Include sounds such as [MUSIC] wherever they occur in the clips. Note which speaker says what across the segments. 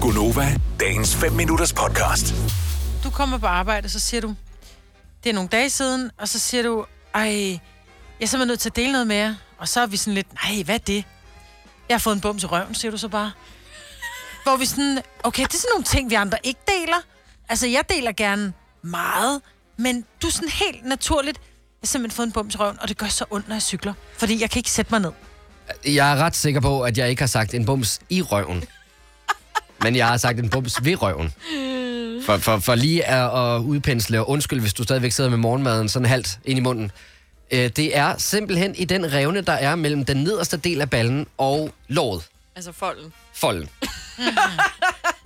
Speaker 1: Gunova, dagens 5 minutters podcast.
Speaker 2: du kommer på arbejde, og så siger du, det er nogle dage siden, og så siger du, ej, jeg er simpelthen nødt til at dele noget med jer. Og så er vi sådan lidt, nej, hvad er det? Jeg har fået en bum til røven, siger du så bare. Hvor vi sådan, okay, det er sådan nogle ting, vi andre ikke deler. Altså, jeg deler gerne meget, men du er sådan helt naturligt, jeg har simpelthen fået en bum til røven, og det gør så ondt, når jeg cykler. Fordi jeg kan ikke sætte mig ned.
Speaker 3: Jeg er ret sikker på, at jeg ikke har sagt en bums i røven. Men jeg har sagt en bums ved røven. For, for, for lige at, at udpensle, og undskyld, hvis du stadigvæk sidder med morgenmaden sådan halvt ind i munden. Øh, Det er simpelthen i den revne, der er mellem den nederste del af ballen og låret.
Speaker 4: Altså folden.
Speaker 3: folden.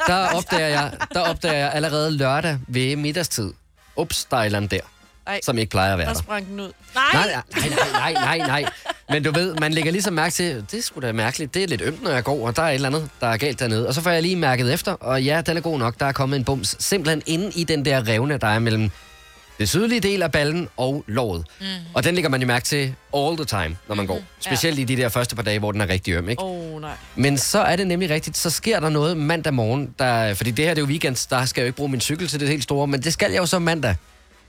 Speaker 3: der, opdager jeg, der opdager jeg allerede lørdag ved middagstid. Ups, der er et eller andet der,
Speaker 4: Ej,
Speaker 3: som ikke plejer at være
Speaker 4: der
Speaker 3: der.
Speaker 4: sprang den ud.
Speaker 3: Nej, nej, nej, nej, nej, nej. Men du ved, man lægger ligesom mærke til, det skulle sgu da mærkeligt, det er lidt ømt, når jeg går, og der er et eller andet, der er galt dernede. Og så får jeg lige mærket efter, og ja, den er god nok, der er kommet en bums. Simpelthen inde i den der revne, der er mellem det sydlige del af ballen og låret. Mm. Og den lægger man jo mærke til all the time, når man går. Specielt i de der første par dage, hvor den er rigtig øm, ikke?
Speaker 4: Åh, oh, nej.
Speaker 3: Men så er det nemlig rigtigt, så sker der noget mandag morgen, der, fordi det her det er jo weekend, der skal jeg jo ikke bruge min cykel til det helt store, men det skal jeg jo så mandag,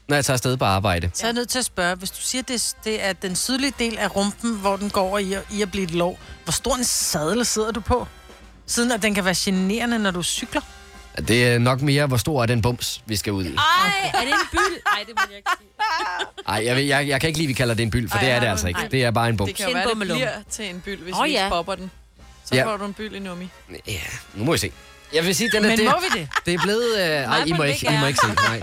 Speaker 3: når jeg tager afsted på arbejde.
Speaker 2: Så er jeg nødt til at spørge, hvis du siger, det, det er den sydlige del af rumpen, hvor den går over i, at- i at blive et lov, hvor stor en sadel sidder du på? Siden at den kan være generende, når du cykler.
Speaker 3: Det er nok mere, hvor stor er den bums, vi skal ud i.
Speaker 5: [LAUGHS] Ej, er det en byld? Nej, det må jeg ikke sige.
Speaker 3: Ej, jeg, ved- jeg, jeg kan ikke lide, vi kalder det en byld, for
Speaker 4: Ej,
Speaker 3: det er
Speaker 4: nej,
Speaker 3: det altså ikke.
Speaker 4: nej.
Speaker 3: Det er bare en bums.
Speaker 4: Det kan jo
Speaker 5: En
Speaker 4: være, det
Speaker 5: bummelum.
Speaker 4: bliver til en byld, hvis
Speaker 5: Åh,
Speaker 4: oh, vi ikke
Speaker 5: ja.
Speaker 4: popper den. Så
Speaker 3: Ja.
Speaker 4: får du en byld i nummi.
Speaker 3: Ja, nu må vi se. Jeg vil sige, den er
Speaker 2: Men
Speaker 3: det,
Speaker 2: må vi det?
Speaker 3: Det er blevet... Øh, ej, I må,
Speaker 5: vil
Speaker 3: ikke, I
Speaker 5: gerne.
Speaker 3: må ikke
Speaker 2: [LAUGHS]
Speaker 3: se. Nej.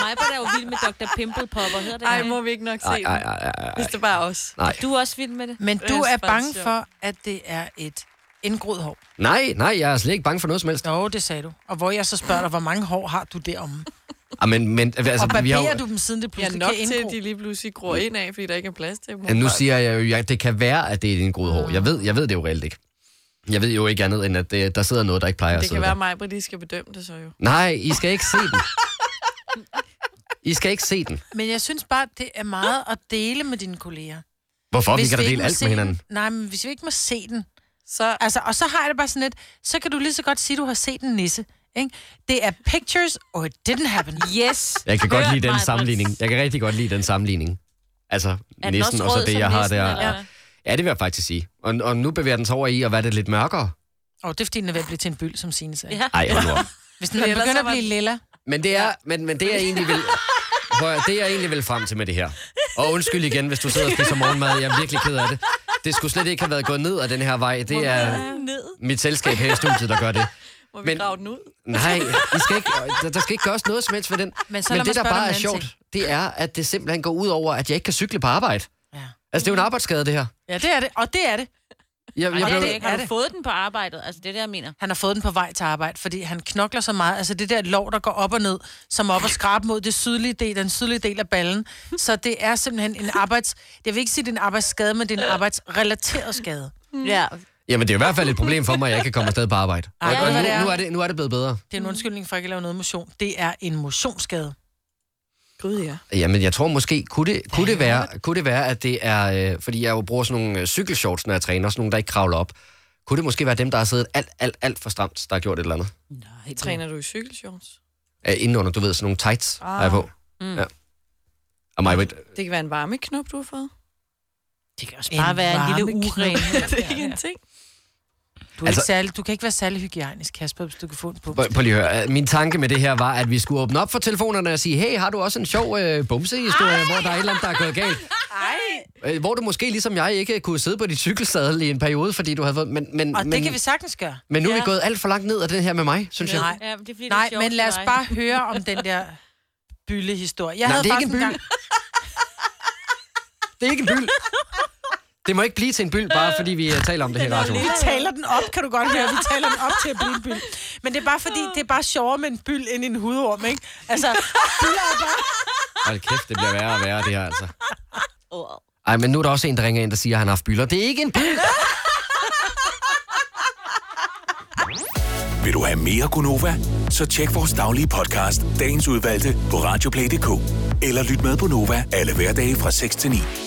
Speaker 5: Mig er jo vild med Dr. Pimple Popper, hedder det
Speaker 4: Ej,
Speaker 5: ikke?
Speaker 4: må vi ikke nok se
Speaker 3: Ej, ej,
Speaker 4: den,
Speaker 3: ej, ej, ej.
Speaker 4: hvis det bare er os.
Speaker 3: Nej.
Speaker 5: Du er også vild med det.
Speaker 2: Men
Speaker 4: Det
Speaker 2: du
Speaker 4: er
Speaker 2: er
Speaker 4: faktisk
Speaker 2: bange
Speaker 4: sjovt.
Speaker 2: for, at det er et indgroet hår.
Speaker 3: nej, nej, jeg er slet ikke bange for noget som helst.
Speaker 2: Jo, det sagde du. Og hvor jeg så spørger dig, hvor mange hår har du deromme?
Speaker 3: Ah, men, men, altså,
Speaker 2: Og
Speaker 3: vi har, jo-
Speaker 2: barberer du dem, siden det
Speaker 4: Jeg er
Speaker 2: pludselig
Speaker 4: nok
Speaker 2: kan
Speaker 4: til,
Speaker 2: indgro?
Speaker 4: at de lige pludselig gror ind af, fordi der ikke er plads til dem.
Speaker 3: Ja, nu siger jeg jo, at det kan være, at det er din gode hår. Jeg ved, jeg ved det jo reelt ikke. Jeg ved jo ikke andet, end at det, der sidder noget, der ikke plejer at
Speaker 4: Det
Speaker 3: sidde
Speaker 4: kan være
Speaker 3: der.
Speaker 4: mig, at de skal bedømme det så jo.
Speaker 3: Nej, I skal ikke se den. I skal ikke se den.
Speaker 2: Men jeg synes bare, det er meget at dele med dine kolleger.
Speaker 3: Hvorfor? vi kan da
Speaker 2: ikke
Speaker 3: dele
Speaker 2: må
Speaker 3: alt
Speaker 2: se
Speaker 3: med hinanden.
Speaker 2: Den, nej, men hvis vi ikke må se den,
Speaker 4: Så
Speaker 2: Altså, og så har jeg det bare sådan lidt, så kan du lige så godt sige, du har set en nisse. Ikke? Det er pictures, or it didn't
Speaker 3: [LAUGHS]
Speaker 2: happen.
Speaker 5: Yes.
Speaker 3: Jeg kan godt
Speaker 5: Hørt
Speaker 3: lide den
Speaker 5: mig,
Speaker 3: sammenligning. Jeg kan rigtig godt lide den sammenligning. Altså,
Speaker 5: Er den
Speaker 3: næsten,
Speaker 5: også
Speaker 3: og så
Speaker 5: rød
Speaker 3: det,
Speaker 5: som
Speaker 3: jeg har
Speaker 5: nissen,
Speaker 3: der.
Speaker 5: eller
Speaker 3: Ja.
Speaker 5: hvad?
Speaker 3: ja, det vil jeg faktisk sige. Og, og nu bevæger den sig over i at være det lidt mørkere.
Speaker 2: Og det er fordi, den er ved at blive til en byld, som Signe sagde.
Speaker 5: Ja.
Speaker 3: Ej, hold nu op.
Speaker 2: Hvis den
Speaker 4: Fordi ellers
Speaker 2: begynder
Speaker 4: så
Speaker 2: at
Speaker 4: var
Speaker 2: blive lilla,
Speaker 3: Men det er, men, men det jeg egentlig vil... Prøv, at- det jeg egentlig vil frem til med det her. Og undskyld igen, hvis du sidder og spiser morgenmad. Jeg er virkelig ked af det. Det skulle slet ikke have været gået ned ad den her vej. Det er
Speaker 4: ned.
Speaker 3: mit selskab her i studiet, der gør det.
Speaker 4: Må vi
Speaker 3: Men-
Speaker 4: grave den ud?
Speaker 3: Nej, I skal ikke, der, der skal ikke gøres noget som helst for den.
Speaker 2: Men så lad
Speaker 3: men
Speaker 2: mig
Speaker 3: det, der
Speaker 2: spørge dig
Speaker 3: bare
Speaker 2: om en
Speaker 3: er
Speaker 2: anden
Speaker 3: sjovt, det er, at det simpelthen går ud over, at jeg ikke kan cykle på arbejde.
Speaker 2: Ja.
Speaker 3: Altså, det er jo en arbejdsskade, det her.
Speaker 2: Ja, det er det. Og det er det.
Speaker 3: Jeg,
Speaker 5: Ej,
Speaker 3: jeg
Speaker 5: det er
Speaker 3: blev,
Speaker 5: det ikke.
Speaker 2: Er
Speaker 5: Har du
Speaker 2: det?
Speaker 5: fået den på arbejdet? Altså, det er det, jeg mener.
Speaker 2: Han har fået den på vej til arbejde, fordi han knokler så meget. Altså det der lov, der går op og ned, som er op og skrab mod det sydlige del, den sydlige del af ballen. Så det er simpelthen en arbejds... Jeg vil ikke sige, det er en arbejdsskade, men det er en arbejdsrelateret skade.
Speaker 5: Ja.
Speaker 3: jamen, det er i hvert fald et problem for mig, at jeg ikke kan komme afsted på arbejde. Og,
Speaker 2: Ej,
Speaker 3: og
Speaker 2: hvad det er.
Speaker 3: nu, nu, er det, nu er det blevet bedre.
Speaker 2: Det er en undskyldning for ikke at lave noget motion. Det er en motionsskade.
Speaker 4: Gud, ja.
Speaker 3: Jamen, jeg tror måske, kunne det, kunne det, være, kunne det være, at det er... Øh, fordi jeg jo bruger sådan nogle øh, cykelshorts, når jeg træner, sådan nogle, der ikke kravler op. Kunne det måske være dem, der har siddet alt, alt, alt for stramt, der har gjort et eller andet?
Speaker 5: Nej, du-
Speaker 4: Træner du i cykelshorts?
Speaker 3: Æ, indenunder, du ved, sådan nogle tights, ah. har jeg på. Mm. Ja. Og mig, ved,
Speaker 4: Det kan være en varmeknop, du har fået.
Speaker 5: Det kan også bare
Speaker 2: En
Speaker 5: være en Altså- lille
Speaker 2: varmeknude.
Speaker 5: uren. [LAUGHS]
Speaker 4: Det er ikke en ting.
Speaker 2: Du, er
Speaker 3: Altså-
Speaker 2: ikke særlig, du kan ikke være særlig hygiejnisk, Kasper, hvis du kan få en på.
Speaker 3: Prøv prøv lige at høre. Øh, Min tanke med det her var, at vi skulle åbne op for telefonerne og sige, hey, har du også en sjov øh, bumsehistorie, hvor der er et eller andet, der er gået galt? Ej. Hvor du måske, ligesom jeg, ikke kunne sidde på dit cykelsadel i en periode, fordi du havde fået... Men, men,
Speaker 2: Og
Speaker 3: men,
Speaker 2: det kan vi sagtens gøre.
Speaker 3: men nu er vi
Speaker 5: Ja.
Speaker 3: gået alt for langt ned af den her med mig, synes jeg.
Speaker 2: Nej.
Speaker 5: Ja, men det er fordi, det
Speaker 2: Nej,
Speaker 5: er sjovt
Speaker 2: men lad os
Speaker 5: for dig.
Speaker 2: bare høre om den der byllehistorie. Jeg
Speaker 3: Nej,
Speaker 2: havde
Speaker 3: det er
Speaker 2: faktisk
Speaker 3: ikke en byld.
Speaker 2: engang-
Speaker 3: Det er ikke en
Speaker 2: [LAUGHS]
Speaker 3: byld. Det må ikke blive til en byld, bare fordi vi øh, taler om det her i radioen.
Speaker 2: Vi taler den op, kan du godt høre. Vi taler den op til at blive en byld. Men det er bare fordi, det er bare sjovere med en byld end en hudorm, ikke? Altså, byller er bare...
Speaker 3: Hold kæft, det bliver værre og værre, det her altså.
Speaker 5: Åh.
Speaker 3: Ej, men nu er der også en, der ringer ind, der siger, at han har haft bylder. Det er ikke en byld.
Speaker 1: Vil du have mere Gunova? Så tjek vores daglige podcast, dagens udvalgte, på radioplay.dk. Eller lyt med på Nova alle hverdage fra 6 til 9.